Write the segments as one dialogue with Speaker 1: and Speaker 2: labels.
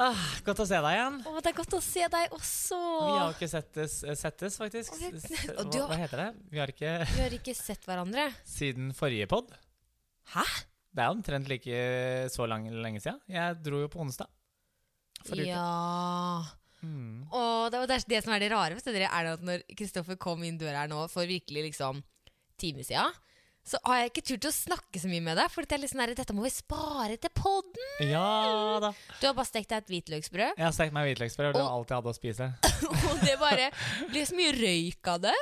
Speaker 1: Ah, godt å se deg igjen.
Speaker 2: Å, det er godt å se deg også.
Speaker 1: Vi har jo ikke settes, eh, settes faktisk.
Speaker 2: Og vi-
Speaker 1: S-
Speaker 2: og du
Speaker 1: Hva,
Speaker 2: har-
Speaker 1: hva heter det? Vi har ikke
Speaker 2: Vi har ikke sett hverandre.
Speaker 1: Siden forrige pod.
Speaker 2: Hæ?
Speaker 1: Det er omtrent like så lang, lenge siden. Jeg dro jo på onsdag. Forrige uke.
Speaker 2: Ja.
Speaker 1: Mm.
Speaker 2: Og det, og det er det som er det rare, vet dere, er det at når Kristoffer kom inn døra her nå for virkelig liksom time siden, så har jeg ikke turt å snakke så mye med deg, for det er litt sånn her, dette må vi spare til podden.
Speaker 1: Ja da.
Speaker 2: Du har bare stekt deg et hvitløksbrød,
Speaker 1: Jeg har stekt meg hvitløksbrød. Det var
Speaker 2: Og-
Speaker 1: alt jeg hadde å spise.
Speaker 2: og det bare blir så mye røyk av det.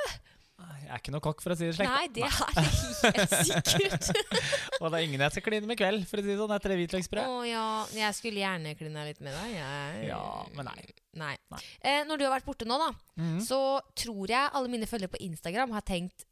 Speaker 1: Jeg er ikke noe kokk, for å si det slik.
Speaker 2: Nei, det er det helt sikkert.
Speaker 1: Og det er ingen jeg skal kline med i kveld, for å si det sånn, etter det
Speaker 2: Å
Speaker 1: hvitløksbrødet.
Speaker 2: ja, jeg skulle gjerne klina litt med deg. Jeg...
Speaker 1: Ja, men nei.
Speaker 2: Nei.
Speaker 1: Nei.
Speaker 2: Eh, når du har vært borte nå, da,
Speaker 1: Mhm.
Speaker 2: så tror jeg alle mine følgere på Instagram har tenkt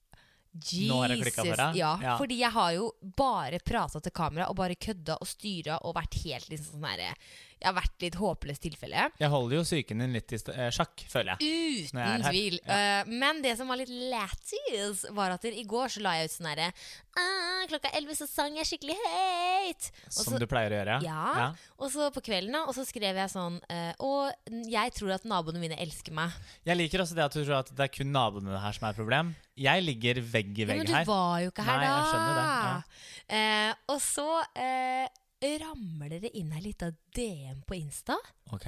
Speaker 2: Jesus!
Speaker 1: Nå har det klikket for deg.
Speaker 2: Ja,
Speaker 1: Ja.
Speaker 2: Fordi jeg har jo bare prata til kamera og bare kødda og styra og vært helt liksom sånn herre Jeg har vært litt håpløst tilfelle.
Speaker 1: Jeg holder jo psyken din litt i st- eh, sjakk, føler
Speaker 2: Mm.
Speaker 1: jeg. Når jeg
Speaker 2: Uten
Speaker 1: er her.
Speaker 2: tvil. Eh, men det som var litt lættis, var at i går så la jeg ut sånn herre «Ah, Klokka elleve så sang jeg skikkelig høyt. Og så-
Speaker 1: Som du pleier å gjøre.
Speaker 2: ja. Og så på kvelden da, og så skrev jeg sånn eh, Og jeg tror at naboene mine elsker meg.
Speaker 1: Jeg liker også det at du tror at det er kun naboene her som er problem. Jeg ligger vegg i
Speaker 2: Ja,
Speaker 1: vegg
Speaker 2: men du
Speaker 1: her.
Speaker 2: var jo ikke her
Speaker 1: Nei,
Speaker 2: da!
Speaker 1: jeg skjønner det, ja.
Speaker 2: Eh, og så eh, ramler det inn ei lita DM på Insta,
Speaker 1: Ok.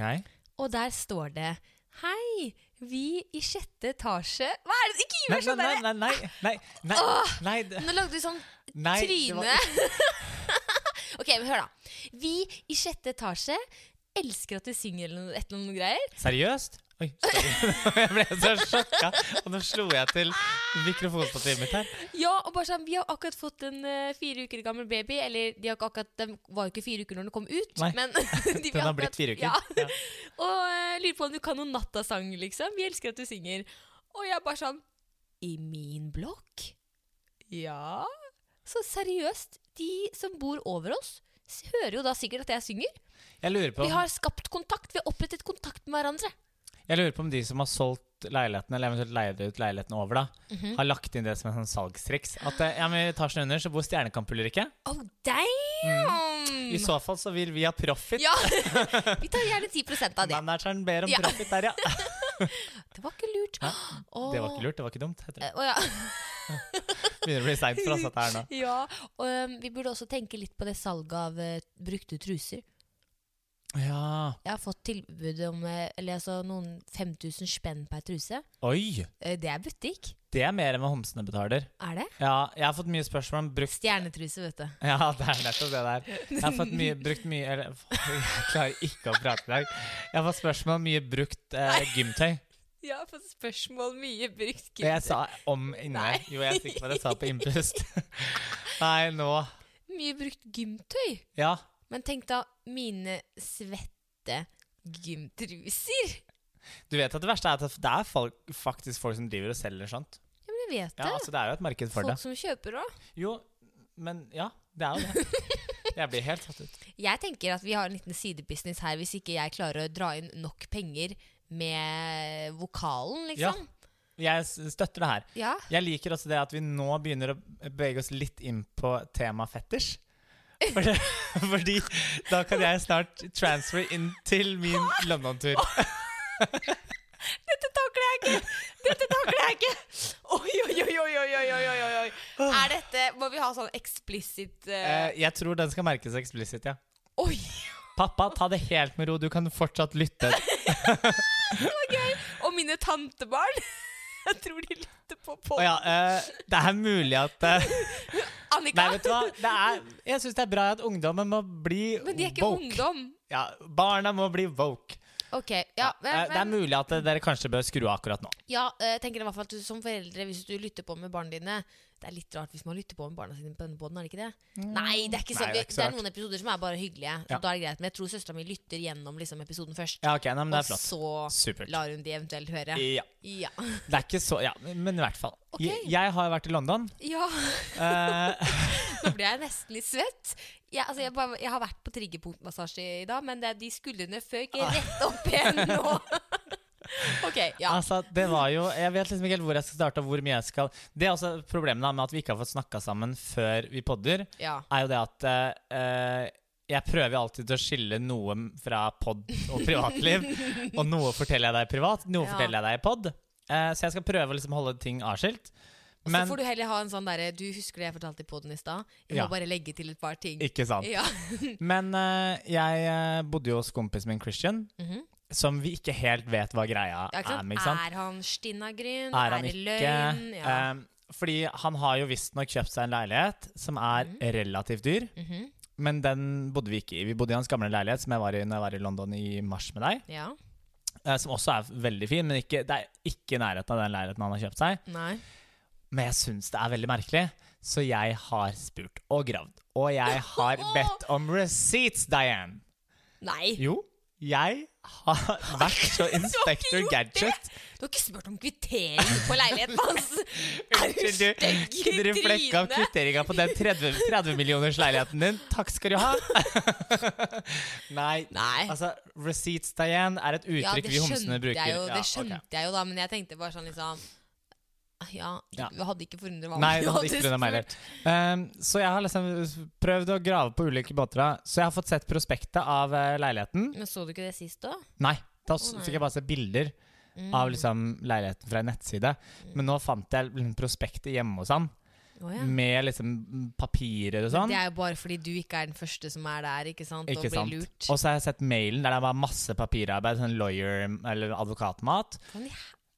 Speaker 2: og der står det Hei, vi i sjette etasje Hva er det? Ikke
Speaker 1: Nei,
Speaker 2: gjør
Speaker 1: nei,
Speaker 2: sånn!
Speaker 1: nei,
Speaker 2: der!
Speaker 1: nei, nei, nei, nei, nei, det-
Speaker 2: Nå lagde du sånn
Speaker 1: nei, det
Speaker 2: tryne.
Speaker 1: var-
Speaker 2: ok, men hør, da. Vi i sjette etasje elsker at du synger eller noe, et eller annet greier.
Speaker 1: Seriøst? Oi, sorry. Jeg ble så sjokka, og nå slo jeg til mikrofonstativet mitt her.
Speaker 2: Ja, og bare sånn, Vi har akkurat fått en eh, fire uker gammel baby. Eller de, har ikke akkurat, de var jo ikke fire uker når den kom ut.
Speaker 1: Nei,
Speaker 2: men de
Speaker 1: Den har blitt fire uker.
Speaker 2: Ja,
Speaker 1: Ja.
Speaker 2: Og eh, lurer på om du kan noen nattasang, liksom. Vi elsker at du synger. Og jeg bare sånn I min blokk? Ja? Så seriøst, de som bor over oss, s- hører jo da sikkert at jeg synger.
Speaker 1: Jeg lurer på
Speaker 2: Vi
Speaker 1: om
Speaker 2: har skapt kontakt. Vi har opprettet kontakt med hverandre.
Speaker 1: Jeg lurer på om de som har solgt leilighetene, eller eventuelt leid ut leilighetene over, da,
Speaker 2: Mhm.
Speaker 1: har lagt inn det som en sånn salgstriks. At eh, ja, men i etasjen under så bor Stjernekamp-Ulrikke.
Speaker 2: Oh, damn!
Speaker 1: I så fall så vil Mm. vi ha profit.
Speaker 2: Mm. Ja! Vi tar gjerne 10 av det.
Speaker 1: Manageren ber om
Speaker 2: Ja.
Speaker 1: profit der, ja.
Speaker 2: Det var ikke lurt.
Speaker 1: Hæ? Det var
Speaker 2: Åh.
Speaker 1: ikke lurt, det var ikke dumt. heter det.
Speaker 2: Eh, Å ja.
Speaker 1: Begynner å bli seint for oss, dette her nå.
Speaker 2: ja. Og, um, vi burde også tenke litt på det salget av eh, brukte truser.
Speaker 1: Ja.
Speaker 2: Jeg har fått tilbud om eh, eller, altså, noen 5000 spenn per truse.
Speaker 1: Oi!
Speaker 2: Eh, det er butikk.
Speaker 1: Det er mer enn hva homsene betaler.
Speaker 2: Er det?
Speaker 1: Ja, jeg har fått mye spørsmål om brukt
Speaker 2: Stjernetruse, vet du.
Speaker 1: Ja, det er nettopp det der. Jeg har fått mye, brukt mye eller, Jeg klarer ikke å prate i dag. Jeg har fått spørsmål om mye brukt eh, gymtøy.
Speaker 2: Jeg har fått spørsmål mye brukt.
Speaker 1: Det jeg sa om inne.
Speaker 2: Nei.
Speaker 1: Jo, jeg er sikker på at jeg sa på innpust. Nei, nå
Speaker 2: Mye brukt gymtøy.
Speaker 1: Ja.
Speaker 2: Men tenk da mine svette gymtruser.
Speaker 1: Du vet at det verste er at det er folk, faktisk folk som driver og selger sånt.
Speaker 2: Ja, men jeg vet det.
Speaker 1: Ja, altså Det er jo et marked for
Speaker 2: Folk
Speaker 1: det.
Speaker 2: som kjøper òg.
Speaker 1: Jo, men ja. Det er jo det. Jeg blir helt satt ut.
Speaker 2: Jeg tenker at vi har en liten sidebusiness her hvis ikke jeg klarer å dra inn nok penger med vokalen, liksom.
Speaker 1: Jeg s- støtter det her.
Speaker 2: Ja.
Speaker 1: Jeg liker også det at vi nå begynner å bevege oss litt inn på tema fetisj. For det, fordi da kan jeg snart transfer inn til min London-tur.
Speaker 2: Dette takler jeg ikke! Dette takler jeg ikke! Oi, oi, oi, oi, oi, oi, oi, oi, oi. Er dette Må vi ha sånn explicit eh,
Speaker 1: Ah. Eh, Jeg tror den skal merkes eksplisitt, ja.
Speaker 2: Oi!
Speaker 1: Pappa, ta det helt med ro. Du kan fortsatt lytte.
Speaker 2: Og mine tantebarn. Jeg tror de lytter på på.
Speaker 1: Å ja, eh, det er mulig at eh, Nei,
Speaker 2: Annika.
Speaker 1: vet du hva? Det er, jeg syns det er bra at ungdommen må bli
Speaker 2: men de er ikke
Speaker 1: woke.
Speaker 2: ungdom.
Speaker 1: Ja, barna må bli woke.
Speaker 2: Ok, ja,
Speaker 1: Eh, det er
Speaker 2: men, men
Speaker 1: mulig at eh, dere kanskje bør skru av akkurat nå.
Speaker 2: ja, eh, jeg tenker i hvert fall at du som foreldre, hvis du lytter på med barna dine Det er litt rart hvis man lytter på med barna sine på denne båten, er det ikke det? Nei, det er ikke
Speaker 1: Nei,
Speaker 2: så,
Speaker 1: det er ikke så
Speaker 2: det er
Speaker 1: rart.
Speaker 2: noen episoder som er bare hyggelige. Så
Speaker 1: Ja.
Speaker 2: da er det greit, Men jeg tror søstera mi lytter gjennom liksom, episoden først.
Speaker 1: Ja, ok, nei, men det er
Speaker 2: og
Speaker 1: flott.
Speaker 2: så
Speaker 1: Supert.
Speaker 2: lar hun de eventuelt høre.
Speaker 1: Ja.
Speaker 2: Ja.
Speaker 1: Det er ikke så Ja, men i hvert fall.
Speaker 2: Ok.
Speaker 1: Jeg, jeg har vært i London.
Speaker 2: ja,
Speaker 1: Eh,
Speaker 2: nå ble jeg nesten litt svett. Jeg, altså, jeg, bare, jeg har vært på triggerpunktmassasje i dag, men det, er de skuldrene føk
Speaker 1: Ah.
Speaker 2: rett opp igjen nå. ok, ja.
Speaker 1: altså, det var jo Jeg vet liksom ikke helt hvor jeg skal starte, og hvor mye jeg skal Det er også problemet da, med at vi ikke har fått snakka sammen før vi podder,
Speaker 2: ja.
Speaker 1: er jo det at eh, eh, jeg prøver alltid å skille noe fra pod og privatliv. og noe forteller jeg deg privat, noe
Speaker 2: Ja.
Speaker 1: forteller jeg deg i pod. Eh, så jeg skal prøve å liksom holde ting avskilt.
Speaker 2: Og så
Speaker 1: Men
Speaker 2: får du heller ha en sånn derre Du husker det jeg fortalte i poden i stad? Jeg
Speaker 1: Ja.
Speaker 2: må bare legge til et par ting.
Speaker 1: Ikke sant.
Speaker 2: Ja.
Speaker 1: Men eh, jeg eh, bodde jo hos kompisen min Christian,
Speaker 2: Mhm.
Speaker 1: som vi ikke helt vet hva greia
Speaker 2: Ja, ikke sant?
Speaker 1: er med. ikke sant?
Speaker 2: Er han stinnagryn?
Speaker 1: Er han
Speaker 2: det
Speaker 1: ikke?
Speaker 2: løgn? Ja.
Speaker 1: Eh, fordi han har jo visstnok kjøpt seg en leilighet som er relativt dyr,
Speaker 2: Mhm.
Speaker 1: men den bodde vi ikke i. Vi bodde i hans gamle leilighet som jeg var i når jeg var i London i mars med deg,
Speaker 2: ja.
Speaker 1: eh, som også er veldig fin, men ikke, det er ikke i nærheten av den leiligheten han har kjøpt seg.
Speaker 2: Nei.
Speaker 1: Men jeg syns det er veldig merkelig, så jeg har spurt og gravd. Og jeg har bedt om receipts, Diane.
Speaker 2: Nei.
Speaker 1: Jo, jeg har vært så Inspector
Speaker 2: gjort
Speaker 1: Gadget.
Speaker 2: Du har ikke spurt om kvittering på leiligheten hans! Er du
Speaker 1: Unnskyld, du.
Speaker 2: stygg i
Speaker 1: Kunne du flekke opp
Speaker 2: trynet?
Speaker 1: kvitteringa på den 30, 30 millioners leiligheten din? Takk skal du ha. Nei.
Speaker 2: Nei.
Speaker 1: Altså, receipts, Diane, er et
Speaker 2: Ja,
Speaker 1: uttrykk
Speaker 2: det
Speaker 1: vi homsene
Speaker 2: skjønte
Speaker 1: bruker.
Speaker 2: jeg jo,
Speaker 1: Ja,
Speaker 2: det
Speaker 1: ok.
Speaker 2: skjønte jeg jo da, men jeg tenkte bare sånn liksom Ja,
Speaker 1: Ja.
Speaker 2: du hadde ikke forundret meg om
Speaker 1: Nei,
Speaker 2: du
Speaker 1: det hadde ikke forundret meg heller. Um, så jeg har liksom prøvd å grave på ulike båter. da. Så jeg har fått sett prospektet av eh, leiligheten.
Speaker 2: Men så du ikke det sist, da?
Speaker 1: Nei, da s-
Speaker 2: Å, nei. Mm.
Speaker 1: fikk jeg bare se bilder av liksom leiligheten fra en nettside. Men nå fant jeg liksom prospektet hjemme hos han,
Speaker 2: Å, ja.
Speaker 1: med liksom papirer og sånn.
Speaker 2: Det er jo bare fordi du ikke er den første som er der, ikke sant?
Speaker 1: Ikke
Speaker 2: og blir
Speaker 1: sant.
Speaker 2: lurt.
Speaker 1: Og så har jeg sett mailen der det var masse papirarbeid, sånn lawyer eller advokatmat.
Speaker 2: Kan jeg-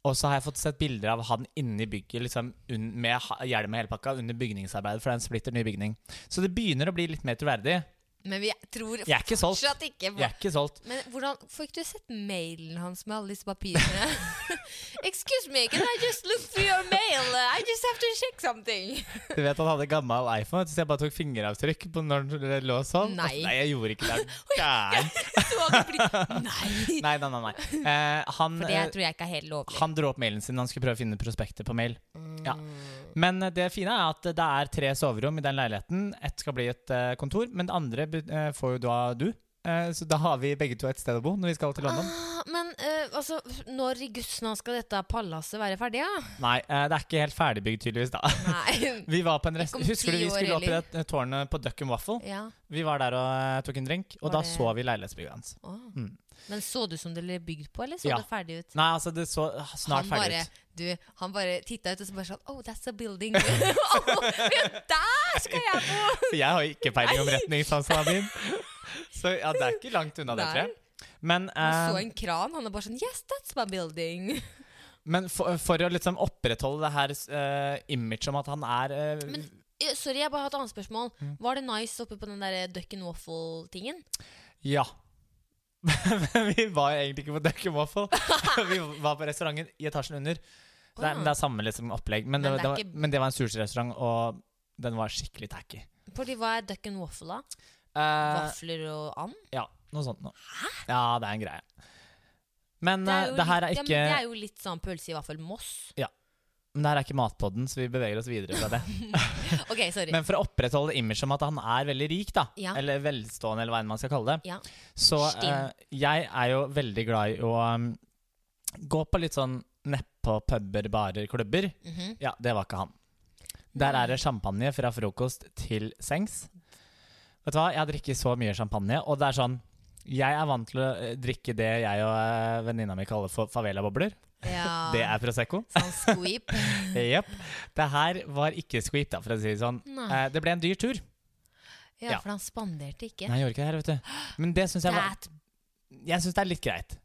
Speaker 1: Og så har jeg fått sett bilder av han inni bygget liksom, unn, med ha- hjelm og hele pakka under bygningsarbeidet, for det er en splitter ny bygning. Så det begynner å bli litt mer troverdig.
Speaker 2: Men vi tror
Speaker 1: Jeg er ikke solgt.
Speaker 2: fortsatt ikke på
Speaker 1: Jeg er ikke solgt.
Speaker 2: Men hvordan får ikke du sett mailen hans med alle disse papirene? Excuse me, can I just look for your mail? I just have to check something.
Speaker 1: Du vet han hadde gammel iPhone, så jeg bare tok fingeravtrykk på når det lå sånn.
Speaker 2: Nei.
Speaker 1: nei jeg gjorde ikke det. Er du Gæren.
Speaker 2: Så han blir- Nei!
Speaker 1: Nei, nei, nei. nei. Eh, han,
Speaker 2: For
Speaker 1: eh,
Speaker 2: det tror jeg ikke er helt lovlig.
Speaker 1: han dro opp mailen sin. Han skulle prøve å finne prospektet på mail. Ja. Men eh, det fine er at det er tre soverom i den leiligheten. Ett skal bli et eh, kontor, men det andre be- eh, får jo da du. Eh, så da har vi begge to et sted å bo når vi skal til London.
Speaker 2: Ah, Men eh, altså, når i gudsnavn skal dette palasset være ferdig, da?
Speaker 1: Nei, eh, det er ikke helt ferdigbygd, tydeligvis. da
Speaker 2: Nei.
Speaker 1: vi var på en rest
Speaker 2: Ikke om
Speaker 1: Husker du
Speaker 2: ti
Speaker 1: vi
Speaker 2: år
Speaker 1: skulle opp i
Speaker 2: heller.
Speaker 1: det eh, tårnet på Duck and Waffle?
Speaker 2: Ja.
Speaker 1: Vi var der og eh, tok en drink, og
Speaker 2: Var
Speaker 1: da
Speaker 2: det-
Speaker 1: så vi leilighetsbygget hans.
Speaker 2: Å.
Speaker 1: Mm.
Speaker 2: Men så du som det ble bygd på, eller så
Speaker 1: Ja.
Speaker 2: det ferdig ut?
Speaker 1: Nei, altså, det så eh, snart
Speaker 2: han
Speaker 1: ferdig
Speaker 2: bare,
Speaker 1: ut.
Speaker 2: Du, han bare titta ut og så bare sånn Oh, that's a building. oh, ja, der skal jeg bo!
Speaker 1: For jeg har jo ikke peiling om retningssansen min. Så ja, det er ikke langt unna det,
Speaker 2: Nei.
Speaker 1: tror jeg. Men,
Speaker 2: Han
Speaker 1: eh,
Speaker 2: så en kran, han er bare sånn Yes, that's my building.
Speaker 1: men for, for å liksom opprettholde det her uh, imaget om at han er eh,
Speaker 2: Men- Eh, Sorry, jeg bare har et annet spørsmål.
Speaker 1: Mm.
Speaker 2: Var det nice oppe på den der duck and waffle-tingen?
Speaker 1: Ja. Men vi var egentlig ikke på Duck and Waffle. Vi var på restauranten i etasjen under. Så
Speaker 2: Å,
Speaker 1: Det er,
Speaker 2: ja.
Speaker 1: det er samme liksom, opplegg. Men,
Speaker 2: Men det
Speaker 1: det,
Speaker 2: er
Speaker 1: det var,
Speaker 2: ikke-
Speaker 1: men det var en sushirestaurant, og den var skikkelig tacky.
Speaker 2: Fordi hva er duck and waffle, da?
Speaker 1: Eh,
Speaker 2: Vafler og and?
Speaker 1: ja, noe sånt noe. Ja, det er en greie. Men
Speaker 2: Det
Speaker 1: eh,
Speaker 2: er
Speaker 1: det,
Speaker 2: jo
Speaker 1: her er
Speaker 2: litt- ja, men
Speaker 1: ikke
Speaker 2: det er jo litt sånn pølse i vaffel Moss.
Speaker 1: Men det her er ikke matpodden, så vi beveger oss videre fra det.
Speaker 2: Ok, sorry.
Speaker 1: Men for å opprettholde imaget om at han er veldig rik, da,
Speaker 2: Ja.
Speaker 1: eller velstående, eller hva enn man skal kalle det,
Speaker 2: Ja.
Speaker 1: så
Speaker 2: Stinn.
Speaker 1: eh, jeg er jo veldig glad i å um, gå på litt sånn nedpå puber, barer, klubber.
Speaker 2: Mhm.
Speaker 1: Ja, det var ikke han. Der er det champagne fra frokost til sengs. Vet du hva, jeg drikker så mye champagne, og det er sånn Jeg er vant til å eh, drikke det jeg og eh, venninna mi kaller for favela-bobler.
Speaker 2: ja.
Speaker 1: Det er Prosecco.
Speaker 2: Sånn squeep.
Speaker 1: Jepp. Det her var ikke squeep, da, for å si det sånn.
Speaker 2: Nei.
Speaker 1: Eh, det ble en dyr tur.
Speaker 2: Ja,
Speaker 1: Ja.
Speaker 2: for han spanderte ikke.
Speaker 1: Nei, jeg gjorde ikke det her, vet du. Men det syns jeg, var-
Speaker 2: That,
Speaker 1: jeg synes det er litt greit.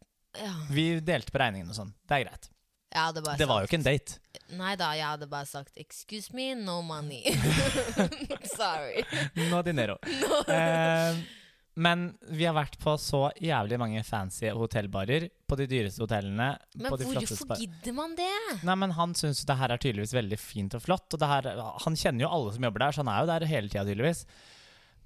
Speaker 2: ja.
Speaker 1: Vi delte på regningen og sånn. Det er greit.
Speaker 2: Jeg hadde bare
Speaker 1: Det var jo
Speaker 2: sagt
Speaker 1: ikke en date.
Speaker 2: Nei da, jeg hadde bare sagt 'excuse me, no money'. Sorry.
Speaker 1: No dinero. Eh, men vi har vært på så jævlig mange fancy hotellbarer. På de dyreste hotellene.
Speaker 2: Men
Speaker 1: på de flotteste
Speaker 2: hvorfor
Speaker 1: bar-
Speaker 2: gidder man det?
Speaker 1: Nei, men Han syns det her er tydeligvis veldig fint og flott. Og det her, han kjenner jo alle som jobber der, så han er jo der hele tida, tydeligvis.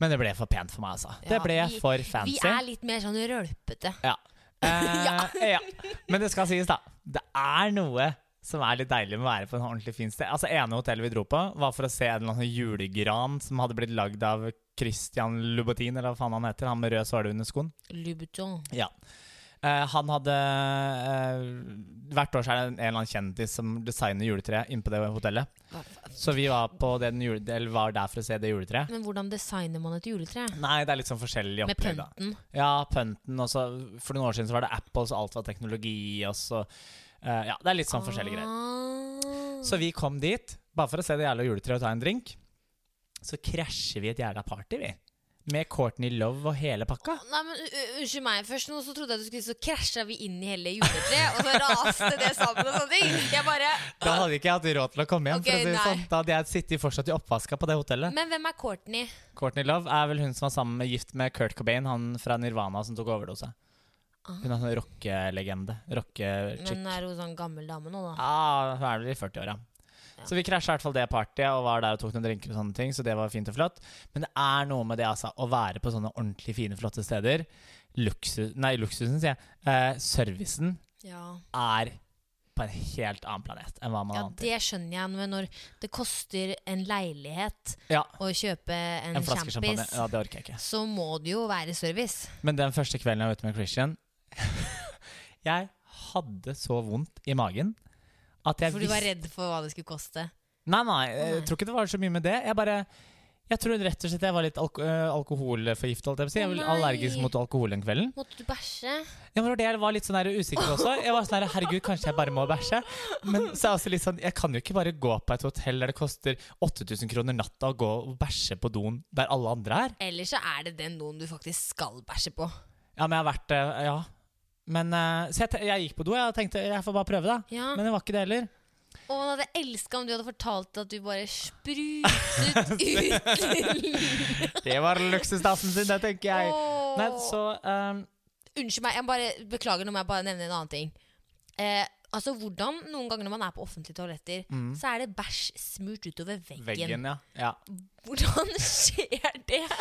Speaker 1: Men det ble for pent for meg, altså.
Speaker 2: Ja,
Speaker 1: det ble
Speaker 2: vi-
Speaker 1: for fancy.
Speaker 2: Vi er litt mer sånn rølpete.
Speaker 1: Eh, ja. Men det skal sies, da. Det er noe som er litt deilig med å være på en ordentlig fin sted. Altså ene hotellet vi dro på, var for å se en eller annen sånn julegran som hadde blitt lagd av Christian Louboutin, eller hva faen han heter. Han med rød såle under skoen.
Speaker 2: Louboutin.
Speaker 1: Eh, han hadde eh, Hvert år så er det en eller annen kjendis som designer juletreet inne på det hotellet. Så vi var, på den jule, eller var der for å se det juletreet.
Speaker 2: Men hvordan designer man et juletre?
Speaker 1: Nei, det er litt sånn forskjellig
Speaker 2: Med
Speaker 1: opplegg, da.
Speaker 2: pønten?
Speaker 1: Ja, pønten og så- For noen år siden så var det Apple, så alt var teknologi, og så eh, Ja, det er litt sånn forskjellige greier.
Speaker 2: greier.
Speaker 1: Så vi kom dit, bare for å se det jævla juletreet og ta en drink. Så krasjer vi et jævla party, vi. Med Courtney Love og hele pakka.
Speaker 2: Nei, men u- Unnskyld meg først, nå så trodde jeg du skulle så krasja vi inn i hele juletreet, og så raste det sammen og sånne ting. Jeg bare
Speaker 1: Da hadde ikke jeg hatt råd til å komme hjem.
Speaker 2: Ok,
Speaker 1: for å si det
Speaker 2: nei.
Speaker 1: sånn. Da hadde jeg sittet fortsatt i oppvaska på det hotellet.
Speaker 2: Men hvem er Courtney?
Speaker 1: Courtney Love er vel hun som var sammen med gift med Kurt Cobain, han fra Nirvana som tok overdose. Hun er sånn rockelegende. Rockechick.
Speaker 2: Ah. Men er hun sånn gammel dame nå, da?
Speaker 1: Ja, hun Ah, er vel i 40-åra.
Speaker 2: Ja.
Speaker 1: Så vi krasja i hvert fall det partyet og var der og tok noen drinker, og sånne ting, så det var fint og flott. Men det er noe med det altså, å være på sånne ordentlig fine, flotte steder. Luksus, nei, luksusen, sier jeg. Eh, servicen
Speaker 2: Ja.
Speaker 1: er på en helt annen planet enn hva man
Speaker 2: ja,
Speaker 1: annet
Speaker 2: det skjønner jeg når- når det koster en leilighet
Speaker 1: Ja,
Speaker 2: å kjøpe en,
Speaker 1: en flaske champagne.
Speaker 2: champis.
Speaker 1: Ja, det orker jeg ikke.
Speaker 2: Så må det jo være service.
Speaker 1: Men den første kvelden jeg var ute med Christian Jeg hadde så vondt i magen at jeg
Speaker 2: For du var
Speaker 1: visste-
Speaker 2: redd for hva det skulle koste.
Speaker 1: Nei, nei, jeg
Speaker 2: nei.
Speaker 1: tror ikke det var så mye med det. Jeg bare Jeg tror rett og slett jeg var litt alko øh, alkoholforgiftet, holdt jeg på å si. Jeg var litt
Speaker 2: Å, nei.
Speaker 1: allergisk mot alkohol den kvelden.
Speaker 2: Måtte du bæsje?
Speaker 1: Ja, men det var det jeg var litt sånn her usikker på også. Jeg var sånn her, herregud, kanskje jeg bare må bæsje. Men så er jeg også litt sånn, jeg kan jo ikke bare gå på et hotell der det koster 8000 kroner natta å gå og bæsje på doen der alle andre er.
Speaker 2: Eller så er det den noen du faktisk skal bæsje på.
Speaker 1: Ja, men jeg har vært øh, Ja. Men øh, Så jeg, te- jeg gikk på do, jeg, og tenkte jeg får bare prøve, da.
Speaker 2: Ja.
Speaker 1: Men det var ikke det heller.
Speaker 2: Og man hadde elska om du hadde fortalt at du bare sprutet ut
Speaker 1: Det var luksusdassen sin, det tenker jeg.
Speaker 2: Åh.
Speaker 1: Nei, så ehm,
Speaker 2: Unnskyld meg, jeg bare beklager nå må jeg bare nevne en annen ting. Eh, altså hvordan Noen ganger når man er på offentlige toaletter, så er det bæsj smurt utover veggen.
Speaker 1: mm. Veggen, ja. ja.
Speaker 2: Hvordan skjer det?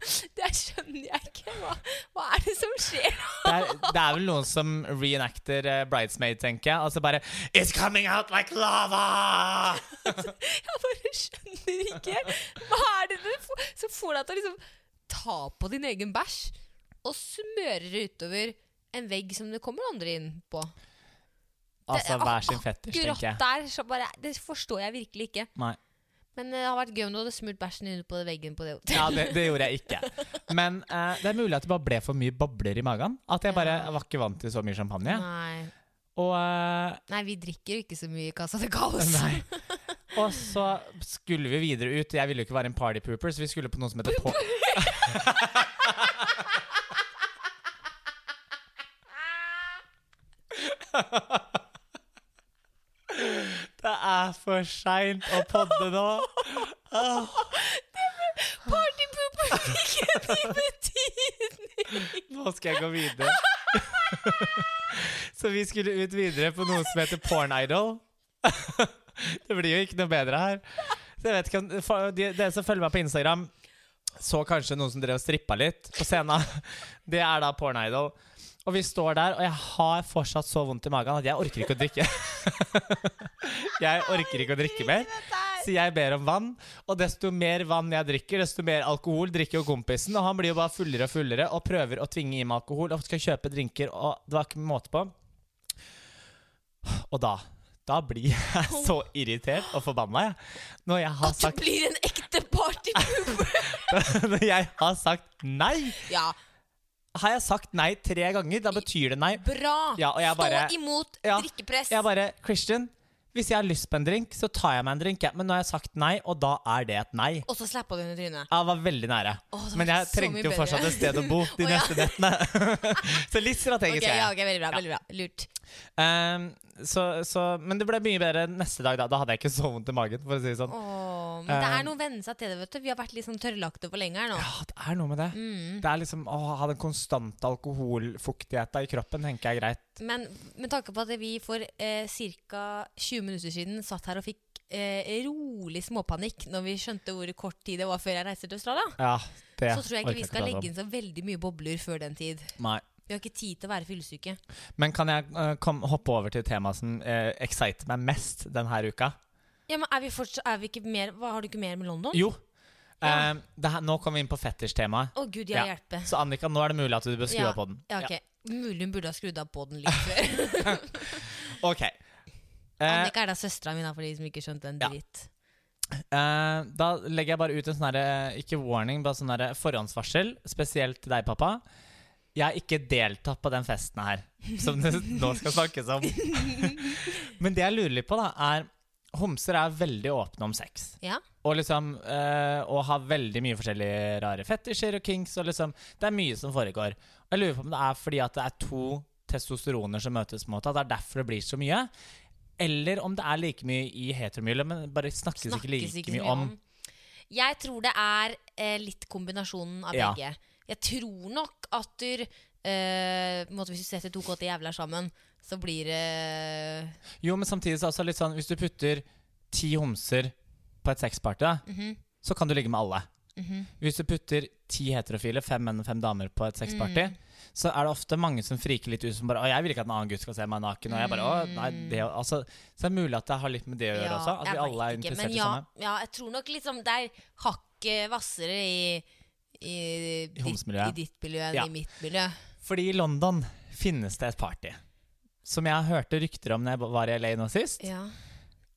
Speaker 2: Det skjønner jeg ikke. Hva, hva er det som skjer?
Speaker 1: Det er, det er vel noen som reenacter eh, Bridesmaid, tenker jeg. Altså bare It's coming out like lava!
Speaker 2: Jeg bare skjønner ikke. Hva er det du får, som får deg til å liksom ta på din egen bæsj og smøre det utover en vegg som det kommer andre inn på?
Speaker 1: Altså hver sin fetisj,
Speaker 2: Grått
Speaker 1: tenker jeg.
Speaker 2: der, så bare, det forstår jeg virkelig ikke.
Speaker 1: Nei.
Speaker 2: Men eh, det har vært gøy om du hadde smurt bæsjen inne på veggen på det
Speaker 1: Ja,
Speaker 2: hotellet.
Speaker 1: det, det gjorde jeg ikke. Men eh, det er mulig at det bare ble for mye bobler i magen. At jeg bare
Speaker 2: Ja.
Speaker 1: var ikke vant til så mye champagne.
Speaker 2: Nei.
Speaker 1: Og, eh,
Speaker 2: Nei, vi drikker jo ikke så mye i Casa de Caos.
Speaker 1: nei. og så skulle vi videre ut. Jeg ville jo ikke være en party pooper, så vi skulle på noe som heter po Det er for seint å podde nå.
Speaker 2: Partypooper fikk en ny betydning!
Speaker 1: Nå skal jeg gå videre. Så vi skulle ut videre på noe som heter Porn Idol. Det blir jo ikke noe bedre her. Så jeg vet ikke om, for de, Dere som følger meg på Instagram, så kanskje noen som drev og strippa litt på scenen. Det er da Porn Idol. Og vi står der, og jeg har fortsatt så vondt i magen at jeg orker ikke å drikke. Jeg orker ikke å drikke mer. Så jeg ber om vann, og desto mer vann jeg drikker, desto mer alkohol drikker jo kompisen. Og han blir jo bare fullere og fullere og prøver å tvinge i meg alkohol og skal kjøpe drinker, og det var ikke måte på. Og da da blir jeg så irritert og forbanna, jeg. Når jeg har
Speaker 2: At
Speaker 1: sagt,
Speaker 2: du blir en ekte partypooper!
Speaker 1: når jeg har sagt nei.
Speaker 2: Ja,
Speaker 1: Har jeg sagt nei tre ganger, da betyr det nei.
Speaker 2: bra!
Speaker 1: Ja, og jeg bare-
Speaker 2: Stå imot
Speaker 1: Ja,
Speaker 2: drikkepress!
Speaker 1: Jeg bare Christian, hvis jeg har lyst på en drink, så tar jeg meg en drink, jeg. Men nå har jeg sagt nei, og da er det et nei.
Speaker 2: Og så slappa du henne i trynet.
Speaker 1: Jeg var veldig nære.
Speaker 2: Åh, det var
Speaker 1: Men jeg
Speaker 2: så mye
Speaker 1: trengte jo
Speaker 2: bedre.
Speaker 1: fortsatt et sted å bo de
Speaker 2: Å, ja.
Speaker 1: neste nettene. så litt
Speaker 2: Ok,
Speaker 1: strategisk er
Speaker 2: ja,
Speaker 1: jeg.
Speaker 2: ok, veldig bra, veldig bra. Lurt.
Speaker 1: Ehm, så, så, men det ble mye bedre neste dag. Da Da hadde jeg ikke så vondt i magen. For å si det sånn.
Speaker 2: Åh, men det
Speaker 1: Eh,
Speaker 2: er noe å venne seg til det, vet du. Vi har vært litt sånn tørrlagte for lenge her nå.
Speaker 1: Ja, det er noe med det.
Speaker 2: Mm.
Speaker 1: Det er liksom Å ha den konstante alkoholfuktigheten i kroppen tenker jeg er greit.
Speaker 2: Men med tanke på at vi for eh, ca. 20 minutter siden satt her og fikk eh, rolig småpanikk når vi skjønte hvor kort tid det var før jeg reiste til Australia,
Speaker 1: Ja, det
Speaker 2: så tror jeg ikke vi skal legge
Speaker 1: inn
Speaker 2: inn så veldig mye bobler før den tid.
Speaker 1: Nei.
Speaker 2: Vi har ikke tid til å være fyllesyke.
Speaker 1: Men kan jeg eh, kom, hoppe over til temaet som eh, exciter meg mest denne uka?
Speaker 2: Ja, men er vi fortsatt, er vi ikke mer, hva, har du ikke mer med London?
Speaker 1: Jo.
Speaker 2: Ja.
Speaker 1: Eh, det her, nå kommer vi inn på fetisj-temaet.
Speaker 2: Å gud, jeg
Speaker 1: Ja.
Speaker 2: hjelper.
Speaker 1: Så Annika, nå er det mulig at du bør skru
Speaker 2: Ja.
Speaker 1: av på den.
Speaker 2: Ja, ok. Mulig hun burde ha skrudd av båten litt før.
Speaker 1: Ok. Eh,
Speaker 2: Annika er da søstera mi, da, for de som ikke skjønte en
Speaker 1: Ja.
Speaker 2: dritt.
Speaker 1: Eh, da legger jeg bare ut en sånn herre Ikke warning, bare sånn herre forhåndsvarsel. Spesielt til deg, pappa. Jeg har ikke deltatt på den festen her som det nå skal snakkes om. Men det jeg lurer litt på, da, er Homser er veldig åpne om sex.
Speaker 2: Ja.
Speaker 1: Og liksom eh, Og har veldig mye forskjellige rare fetisjer og kinks. Og liksom Det er mye som foregår. Og jeg lurer på om det er fordi at det er to testosteroner som møtes, på en måte, at det er derfor det blir så mye. Eller om det er like mye i heteromiljøet, men bare snakkes, ikke like
Speaker 2: Snakkes ikke så
Speaker 1: mye om.
Speaker 2: Jeg tror det er eh, litt kombinasjonen av
Speaker 1: Ja.
Speaker 2: begge. Jeg tror nok at du eh, på en måte Hvis du setter to kåte jævler sammen, så blir det
Speaker 1: Jo, men samtidig så er det også litt sånn Hvis du putter ti homser på et sexparty, da,
Speaker 2: Mhm,
Speaker 1: så kan du ligge med alle.
Speaker 2: mhm.
Speaker 1: Hvis du putter ti heterofile, fem menn og fem damer på et sexparty,
Speaker 2: Mm.
Speaker 1: så er det ofte mange som friker litt ut som bare 'Å, jeg vil ikke at en annen gutt skal se meg naken', og jeg bare 'Å, nei, det altså, Så er det mulig at det har litt med det å gjøre
Speaker 2: Mm. Ja,
Speaker 1: også. At
Speaker 2: jeg
Speaker 1: vi alle er
Speaker 2: vet ikke, men
Speaker 1: interessert i
Speaker 2: ja,
Speaker 1: samme.
Speaker 2: Ja, jeg tror nok liksom det er hakket hvassere i, i, ditt-
Speaker 1: homsemiljøet.
Speaker 2: I ditt miljø enn
Speaker 1: Ja.
Speaker 2: i mitt miljø.
Speaker 1: Fordi i London finnes det et party. Som jeg hørte rykter om når jeg var i LA nå sist,
Speaker 2: Ja.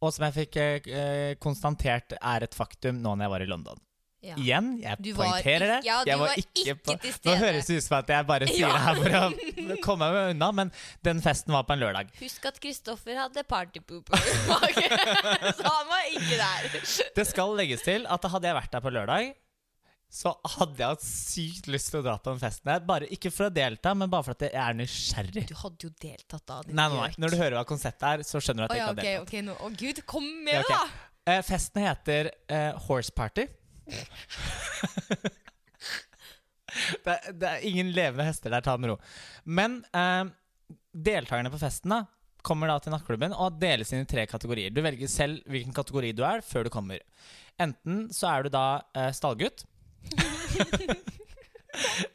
Speaker 1: og som jeg fikk eh, eh, konstatert er et faktum nå når jeg var i London.
Speaker 2: ja.
Speaker 1: Igjen, jeg
Speaker 2: Du var
Speaker 1: poengterer
Speaker 2: ikke-
Speaker 1: det.
Speaker 2: ja, du
Speaker 1: jeg
Speaker 2: var ikke
Speaker 1: på-
Speaker 2: til
Speaker 1: Nå
Speaker 2: stede.
Speaker 1: høres det ut som at jeg bare sier
Speaker 2: Ja.
Speaker 1: det her for å komme meg unna, men den festen var på en lørdag.
Speaker 2: Husk at Kristoffer hadde partypooper i magen, så han var ikke der.
Speaker 1: Det skal legges til at hadde jeg vært der på lørdag, så hadde jeg hatt sykt lyst til å dra på den festen her. Bare ikke for å delta, men bare for at jeg er nysgjerrig.
Speaker 2: Du hadde jo deltatt da. din
Speaker 1: Nei, nei, nei.
Speaker 2: gjøk.
Speaker 1: Når du hører hva konseptet er, så skjønner du at
Speaker 2: Å
Speaker 1: jeg
Speaker 2: ja,
Speaker 1: ikke
Speaker 2: ok,
Speaker 1: har deltatt.
Speaker 2: ok, nå. Å gud, kom
Speaker 1: Ja,
Speaker 2: med
Speaker 1: ok.
Speaker 2: det,
Speaker 1: Eh, festen heter eh, Horse Party. det, er, det er ingen levende hester der, ta det med ro. Men eh, deltakerne på festen da, kommer da til nattklubben og deles inn i tre kategorier. Du velger selv hvilken kategori du er før du kommer. Enten så er du da eh, stallgutt.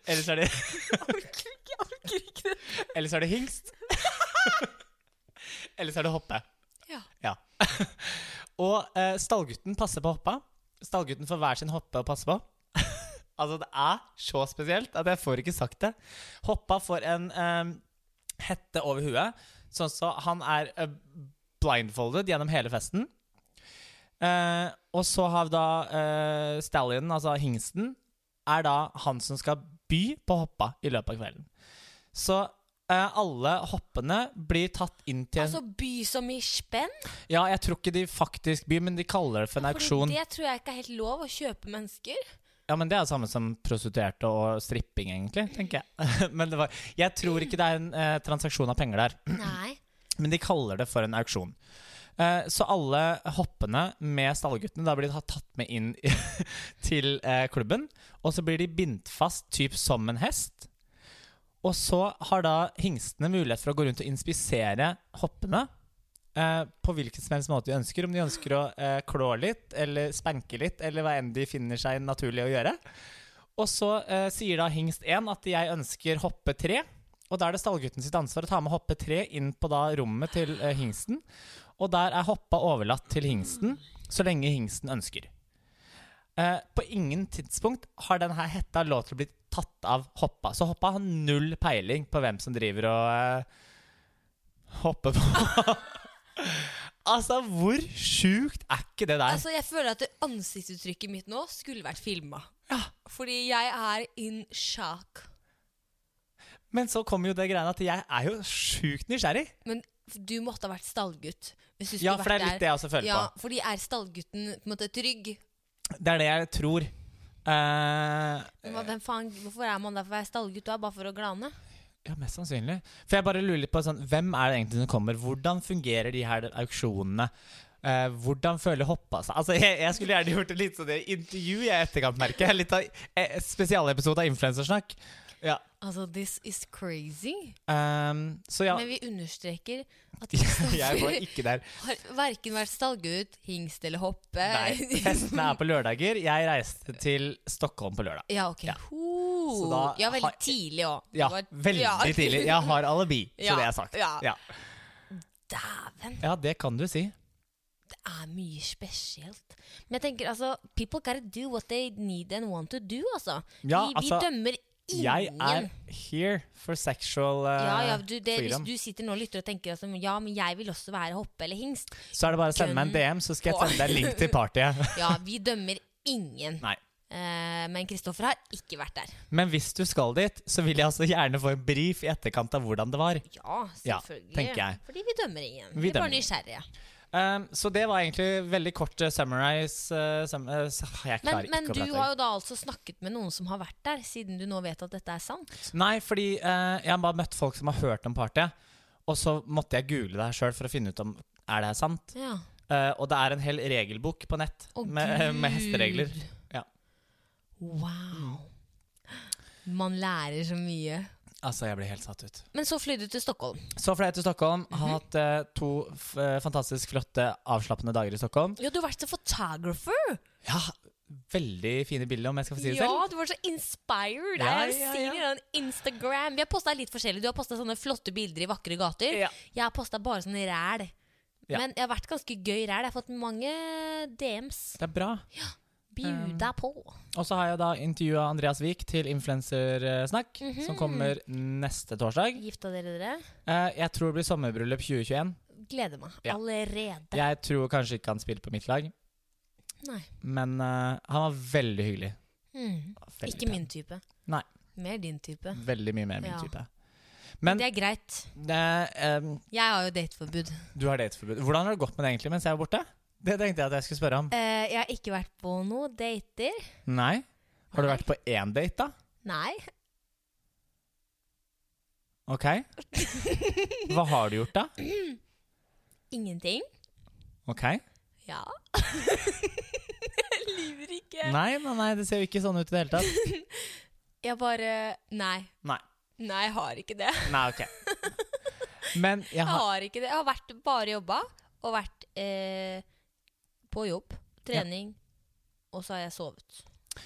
Speaker 1: Eller så er det
Speaker 2: da! Jeg orker ikke, jeg orker ikke det.
Speaker 1: Eller så er det hingst. Eller så er det hoppe.
Speaker 2: Ja.
Speaker 1: Og eh, stallgutten passer på hoppa. Stallgutten får hver sin hoppe å passe på. altså, det er så spesielt at jeg får ikke sagt det. Hoppa får en eh, hette over huet, sånn så han er eh, blindfolded gjennom hele festen. Eh, og så har vi da eh, stallionen, altså hingsten, er da han som skal by på hoppa i løpet av kvelden. Så eh, alle hoppene blir tatt inn til en
Speaker 2: Altså by som i spenn?
Speaker 1: ja, jeg tror ikke de faktisk byr, men de kaller det for en
Speaker 2: For
Speaker 1: auksjon.
Speaker 2: det tror jeg ikke er helt lov å kjøpe mennesker.
Speaker 1: Ja, men Det er det samme som prostituerte og stripping, egentlig. tenker Jeg Men det var, jeg tror ikke det er en eh, transaksjon av penger der,
Speaker 2: Nei.
Speaker 1: men de kaller det for en auksjon. Eh, så alle hoppene med stallguttene da blir de tatt med inn til eh, klubben. Og så blir de bindt fast typ som en hest. Og så har da hingstene mulighet for å gå rundt og inspisere hoppene eh, på hvilken som helst måte de ønsker. Om de ønsker å eh, klå litt, eller spanke litt, eller hva enn de finner seg naturlig å gjøre. Og så eh, sier da hingst 1 at jeg ønsker hoppe 3. Og da er det stallgutten sitt ansvar å ta med hoppe 3 inn på da rommet til eh, hingsten. Og der er hoppa overlatt til hingsten så lenge hingsten ønsker. Eh, på ingen tidspunkt har denne hetta lov til å bli tatt av hoppa. Så hoppa har null peiling på hvem som driver og eh, hopper på. altså, hvor sjukt er ikke det der?
Speaker 2: Altså, jeg føler at det ansiktsuttrykket mitt nå skulle vært filma. Fordi jeg er in shock.
Speaker 1: Men så kommer jo det greiene at jeg er jo sjukt nysgjerrig.
Speaker 2: Men f- du måtte ha vært stallgutt. Hvis du skulle
Speaker 1: Ja, for det
Speaker 2: vært
Speaker 1: er litt det jeg også føler
Speaker 2: Ja, fordi er stallgutten på en måte trygg?
Speaker 1: på. Det er det jeg tror. Eh,
Speaker 2: Hva, hvem faen, hvorfor er man der for å være stallgutt? Du er bare for å glane?
Speaker 1: ja, mest sannsynlig. For jeg bare lurer litt på sånn, hvem er det egentlig som kommer? Hvordan fungerer de her auksjonene? Eh, hvordan føler hoppa seg? Altså, jeg, jeg skulle gjerne gjort et litt sånn intervju i etterkant, merker jeg. Litt av eh, spesialepisode av Influensersnakk. Ja.
Speaker 2: Altså, this is crazy.
Speaker 1: Ehm, så ja,
Speaker 2: Men vi understreker at
Speaker 1: jeg var
Speaker 2: Kristoffer
Speaker 1: ikke der.
Speaker 2: har verken vært stallgutt, hingst eller hoppe.
Speaker 1: Nei, festene er på lørdager. Jeg reiste til Stockholm på lørdag.
Speaker 2: Ja, ok.
Speaker 1: Ja.
Speaker 2: Ho.
Speaker 1: Så da
Speaker 2: ja, veldig
Speaker 1: har-
Speaker 2: tidlig òg.
Speaker 1: Ja, veldig tidlig. Jeg har alibi, så
Speaker 2: Ja,
Speaker 1: det er sagt.
Speaker 2: ja.
Speaker 1: Ja.
Speaker 2: Dæven,
Speaker 1: Ja, det kan du si.
Speaker 2: det er mye spesielt. Men jeg tenker altså People gotta do what they need and want to do, altså. vi,
Speaker 1: Ja,
Speaker 2: vi
Speaker 1: altså,
Speaker 2: dømmer
Speaker 1: Jeg er
Speaker 2: ingen.
Speaker 1: here for sexual eh,
Speaker 2: Ja, ja, du, det, hvis
Speaker 1: freedom.
Speaker 2: du sitter nå og lytter og tenker at ja, men jeg vil også være hoppe eller hingst
Speaker 1: Så er det bare å sende meg en DM, så skal jeg sende deg link til partyet.
Speaker 2: Ja, vi dømmer ingen.
Speaker 1: Nei.
Speaker 2: Eh, men Kristoffer har ikke vært der.
Speaker 1: Men hvis du skal dit, så vil jeg altså gjerne få en brief i etterkant av hvordan det var.
Speaker 2: Ja,
Speaker 1: Ja,
Speaker 2: selvfølgelig.
Speaker 1: tenker jeg.
Speaker 2: Fordi vi dømmer ingen.
Speaker 1: Vi
Speaker 2: Vi, er
Speaker 1: dømmer
Speaker 2: bare
Speaker 1: ingen.
Speaker 2: nysgjerrige.
Speaker 1: Um, så det var egentlig veldig kort uh, summarize. eh, sum eh, s- jeg
Speaker 2: Men,
Speaker 1: klarer ikke
Speaker 2: men
Speaker 1: å
Speaker 2: du
Speaker 1: prate.
Speaker 2: har jo da altså snakket med noen som har vært der, siden du nå vet at dette er sant.
Speaker 1: Nei, fordi eh, jeg har bare møtt folk som har hørt om partyet, og så måtte jeg google det her sjøl for å finne ut om er det her sant.
Speaker 2: Ja.
Speaker 1: Eh, og det er en hel regelbok på nett
Speaker 2: Å,
Speaker 1: med, med
Speaker 2: Gud.
Speaker 1: hesteregler. Ja.
Speaker 2: Wow. Man lærer så mye.
Speaker 1: Altså, jeg blir helt satt ut.
Speaker 2: Men så fløy du til Stockholm.
Speaker 1: Så fløy jeg til Stockholm.
Speaker 2: Mhm.
Speaker 1: Har hatt eh, to f eh, fantastisk flotte, avslappende dager i Stockholm.
Speaker 2: Ja, du har vært så photographer!
Speaker 1: Ja, veldig fine bilder, om jeg skal få si det
Speaker 2: ja,
Speaker 1: selv.
Speaker 2: du var så inspired!
Speaker 1: Ja,
Speaker 2: jeg
Speaker 1: ja,
Speaker 2: ser
Speaker 1: ja.
Speaker 2: det gjennom Instagram. Vi har posta litt forskjellig. Du har posta sånne flotte bilder i vakre gater.
Speaker 1: Ja.
Speaker 2: Jeg har posta bare sånn ræl.
Speaker 1: Ja.
Speaker 2: Men jeg har vært ganske gøy ræl. Jeg har fått mange DMs.
Speaker 1: Det er bra.
Speaker 2: Bjuda
Speaker 1: Um.
Speaker 2: på.
Speaker 1: Og så har jeg da intervjua Andreas Wiik til Influensersnakk,
Speaker 2: Mhm.
Speaker 1: som kommer neste torsdag.
Speaker 2: Gifta dere dere?
Speaker 1: Eh, jeg tror det blir sommerbryllup 2021.
Speaker 2: Gleder meg
Speaker 1: Ja.
Speaker 2: allerede.
Speaker 1: Jeg tror kanskje ikke han spilte på mitt lag,
Speaker 2: Nei.
Speaker 1: men eh, han var veldig hyggelig.
Speaker 2: Mm.
Speaker 1: Veldig
Speaker 2: Ikke
Speaker 1: pen.
Speaker 2: min type.
Speaker 1: Nei.
Speaker 2: Mer din type.
Speaker 1: Veldig mye mer min
Speaker 2: Ja.
Speaker 1: type.
Speaker 2: Men
Speaker 1: Men
Speaker 2: det er greit.
Speaker 1: det, em,
Speaker 2: Jeg har jo dateforbud.
Speaker 1: du har dateforbud. Hvordan har det gått med det egentlig mens jeg var borte? Det tenkte jeg at jeg skulle spørre om.
Speaker 2: Eh, jeg har ikke vært på noen dater.
Speaker 1: Nei? Har du
Speaker 2: Nei.
Speaker 1: vært på én date, da?
Speaker 2: Nei.
Speaker 1: Ok. Hva har du gjort, da?
Speaker 2: Ingenting.
Speaker 1: Ok.
Speaker 2: Ja. jeg lyver ikke.
Speaker 1: Nei, nei, nei, det ser jo ikke sånn ut i det hele tatt.
Speaker 2: Jeg bare Nei.
Speaker 1: Nei.
Speaker 2: Nei, jeg har ikke det.
Speaker 1: Nei, ok. Men jeg
Speaker 2: Jeg
Speaker 1: har
Speaker 2: har ikke det. Jeg har vært bare jobba, og vært eh, på jobb. Trening. Og så har jeg sovet.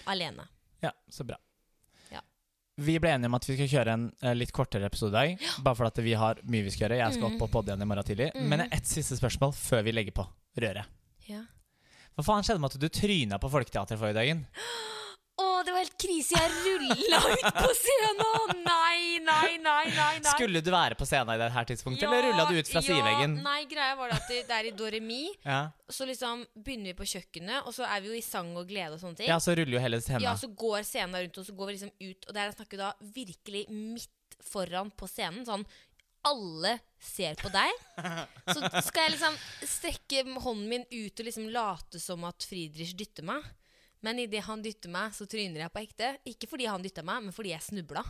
Speaker 2: Alene.
Speaker 1: Ja, så bra.
Speaker 2: Ja.
Speaker 1: Vi ble enige om at vi skal kjøre en eh, litt kortere episode i dag. Bare fordi at vi har mye vi skal gjøre. Jeg skal
Speaker 2: Mhm.
Speaker 1: opp og podde igjen i morgen tidlig.
Speaker 2: Mhm.
Speaker 1: Men jeg har ett siste spørsmål før vi legger på røret.
Speaker 2: Ja.
Speaker 1: Hva faen skjedde med at du tryna på Folketeatret forrige dagen?
Speaker 2: Å, det var helt krise. Jeg rulla ut på scenen! Å, Nei, nei, nei, nei. nei.
Speaker 1: Skulle du være på scenen i det her tidspunktet, eller rulla du ut fra sideveggen?
Speaker 2: Ja, nei, greia var det at det, det er i Doremi.
Speaker 1: Ja.
Speaker 2: Så liksom begynner vi på kjøkkenet, og så er vi jo i sang og glede og sånne ting.
Speaker 1: ja, så ruller jo hele
Speaker 2: Ja,
Speaker 1: scenen.
Speaker 2: så går scenen rundt, og så går vi liksom ut, og der snakker vi da virkelig midt foran på scenen. Sånn alle ser på deg. Så skal jeg liksom strekke hånden min ut og liksom late som at Friedrich dytter meg. Men idet han dytter meg, så tryner jeg på ekte. Ikke fordi han dytta meg, men fordi jeg snubla.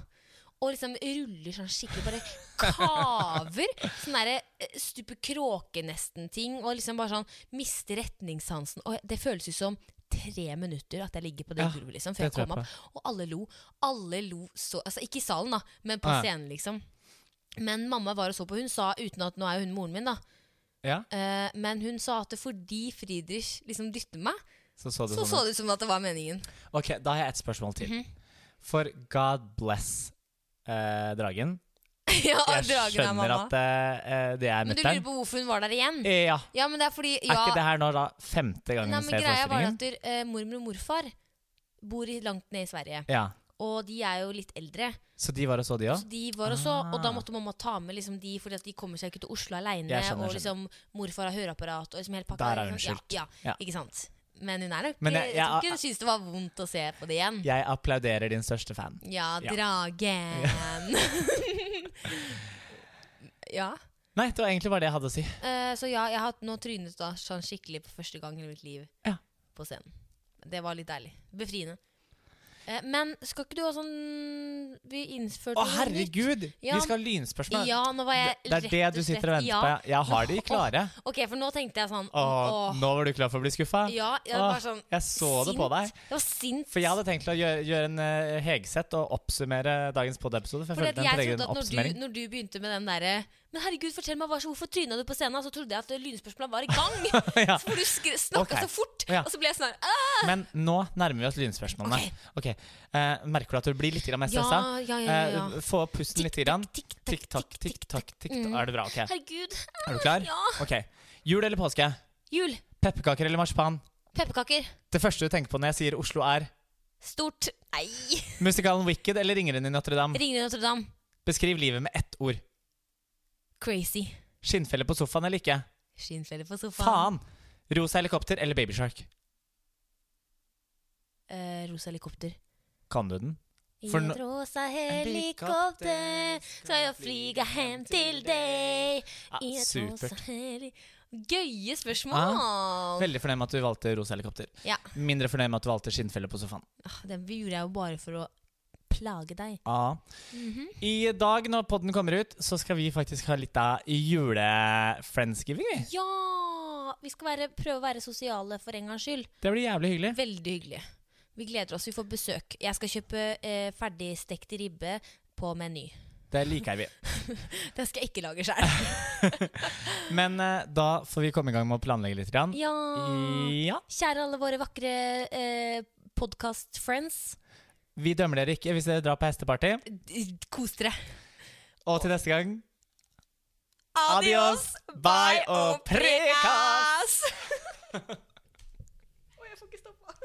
Speaker 2: Og liksom ruller sånn skikkelig, bare kaver. Sånn derre eh, stupe kråke-nesten-ting. Og liksom bare sånn mister retningssansen. Og det føles ut som tre minutter at jeg ligger på det
Speaker 1: Ja,
Speaker 2: gulvet, liksom. Før
Speaker 1: det
Speaker 2: jeg
Speaker 1: tror jeg
Speaker 2: kom opp. Og alle lo. Alle lo så Altså ikke i salen, da, men på
Speaker 1: Ja.
Speaker 2: scenen, liksom. Men mamma var og så på. Hun sa, uten at nå er jo hun moren min, da,
Speaker 1: Ja,
Speaker 2: eh, men hun sa at fordi Friedrich liksom dytter meg,
Speaker 1: så så du
Speaker 2: så
Speaker 1: sånn
Speaker 2: så
Speaker 1: ut.
Speaker 2: det ut som at det var meningen.
Speaker 1: Ok, da har jeg et spørsmål til.
Speaker 2: Mhm.
Speaker 1: For God bless eh, dragen.
Speaker 2: ja,
Speaker 1: Jeg
Speaker 2: dragen er
Speaker 1: skjønner
Speaker 2: mamma.
Speaker 1: at eh, eh, det er
Speaker 2: Men du lurer
Speaker 1: mutter'n.
Speaker 2: på hvorfor hun var der igjen?
Speaker 1: Eh, Ja.
Speaker 2: Ja, men det er fordi
Speaker 1: Er
Speaker 2: ja,
Speaker 1: ikke det her nå da femte gangen
Speaker 2: Nei,
Speaker 1: du
Speaker 2: men
Speaker 1: ser
Speaker 2: Greia var
Speaker 1: forestillingen?
Speaker 2: at du, eh, mormor og morfar bor i, langt ned i Sverige.
Speaker 1: Ja.
Speaker 2: Og de er jo litt eldre.
Speaker 1: Så de var og så de òg?
Speaker 2: Så de var også,
Speaker 1: Ah.
Speaker 2: og da måtte mamma ta med liksom, de, fordi at de kommer seg ikke til Oslo aleine.
Speaker 1: Jeg skjønner,
Speaker 2: Og
Speaker 1: jeg
Speaker 2: liksom, morfar har høreapparat. Og liksom hele pakka
Speaker 1: Der er
Speaker 2: ikke
Speaker 1: hun
Speaker 2: sant?
Speaker 1: skyldt.
Speaker 2: Ja, ja,
Speaker 1: Ja.
Speaker 2: Ikke sant? Men hun er nok
Speaker 1: Men
Speaker 2: jeg,
Speaker 1: jeg- jeg-
Speaker 2: tror ikke hun syntes det var vondt å se på det igjen.
Speaker 1: Jeg applauderer din største fan.
Speaker 2: Ja,
Speaker 1: Ja.
Speaker 2: dragen. ja.
Speaker 1: Nei, det var egentlig bare det jeg hadde å si.
Speaker 2: Eh, så ja, jeg har nå trynet da sånn skikkelig på første gang i mitt liv
Speaker 1: Ja.
Speaker 2: på scenen. Det var litt deilig. Befriende. Eh, men skal ikke du ha sånn Vi innførte
Speaker 1: Å,
Speaker 2: noe
Speaker 1: herregud!
Speaker 2: Ja.
Speaker 1: Vi skal ha
Speaker 2: nytt.
Speaker 1: lynspørsmål.
Speaker 2: Ja, nå var jeg
Speaker 1: det er det
Speaker 2: rett og
Speaker 1: du
Speaker 2: slett-
Speaker 1: sitter og venter
Speaker 2: ja.
Speaker 1: på. ja. Jeg har de klare.
Speaker 2: Ok, for nå tenkte jeg sånn
Speaker 1: Å,
Speaker 2: Åh,
Speaker 1: nå var du klar for å bli skuffa?
Speaker 2: Ja, jeg
Speaker 1: Åh,
Speaker 2: var sånn
Speaker 1: Jeg så det på deg.
Speaker 2: Jeg var sint.
Speaker 1: For jeg hadde tenkt å gjøre, gjøre en uh, hegsett og oppsummere dagens podiepisode. For
Speaker 2: Fordi at
Speaker 1: jeg følte den
Speaker 2: jeg
Speaker 1: trengte
Speaker 2: trodde
Speaker 1: en
Speaker 2: at når
Speaker 1: oppsummering.
Speaker 2: du, når du begynte med den derre Men herregud, fortell meg, hva, så hvorfor tryna du på scenen? Så trodde jeg at eh, lynspørsmålet var i gang.
Speaker 1: ja.
Speaker 2: For du skre- snakka
Speaker 1: Ok.
Speaker 2: så fort.
Speaker 1: Ja.
Speaker 2: Og så ble jeg sånn her,
Speaker 1: Men nå nærmer vi oss lynspørsmålene.
Speaker 2: Ok.
Speaker 1: Ok, eh, merker du at du blir litt grann mer
Speaker 2: Ja,
Speaker 1: stressa?
Speaker 2: ja, ja, ja.
Speaker 1: Eh, få opp pusten litt. Grann.
Speaker 2: Tikk,
Speaker 1: Tikk takk, tikk takk, tikk takk.
Speaker 2: Mm.
Speaker 1: Er det bra? Ok,
Speaker 2: Herregud.
Speaker 1: er du klar?
Speaker 2: Ja.
Speaker 1: Ok, Jul eller påske?
Speaker 2: Jul.
Speaker 1: Pepperkaker eller marsipan?
Speaker 2: Pepperkaker.
Speaker 1: Det første du tenker på når jeg sier Oslo, er
Speaker 2: Stort. Nei!
Speaker 1: Musikalen Wicked eller Ringeren i Notre-Dame?
Speaker 2: Ringer i Notre-Dame.
Speaker 1: Beskriv livet med ett ord.
Speaker 2: Crazy.
Speaker 1: Skinnfelle på sofaen eller ikke?
Speaker 2: Skinnfelle på sofaen.
Speaker 1: Faen! Rosa helikopter eller Babyshark?
Speaker 2: Eh, rosa helikopter.
Speaker 1: Kan du den?
Speaker 2: I
Speaker 1: For
Speaker 2: et
Speaker 1: nå-
Speaker 2: rosa helikopter skal jeg flyge hjem til deg.
Speaker 1: Ja,
Speaker 2: I et rosa
Speaker 1: supert. Ah,
Speaker 2: heli... Gøye spørsmål!
Speaker 1: Veldig fornøyd med at du valgte rosa helikopter.
Speaker 2: Ja.
Speaker 1: Mindre fornøyd med at du valgte skinnfelle på sofaen.
Speaker 2: Ah, Den gjorde jeg jo bare for å plage deg.
Speaker 1: Ja. I dag, når podden kommer ut, så skal vi faktisk ha litt av jule-friendsgiving. vi.
Speaker 2: Ja! Vi skal være, prøve å være sosiale for en gangs skyld.
Speaker 1: Det blir jævlig hyggelig.
Speaker 2: Veldig hyggelig. Vi gleder oss. Vi får besøk. Jeg skal kjøpe eh, ferdigstekt ribbe på Meny.
Speaker 1: Det liker vi.
Speaker 2: Den skal jeg ikke lage sjøl.
Speaker 1: Men eh, da får vi komme i gang med å planlegge litt. Grann.
Speaker 2: Ja.
Speaker 1: Ja.
Speaker 2: Kjære alle våre vakre eh, podkast-friends.
Speaker 1: Vi dømmer dere ikke hvis dere drar på hesteparty.
Speaker 2: D- Kos dere.
Speaker 1: Og til neste gang Adios, bye og prekas!
Speaker 2: Å, jeg får ikke stoppa.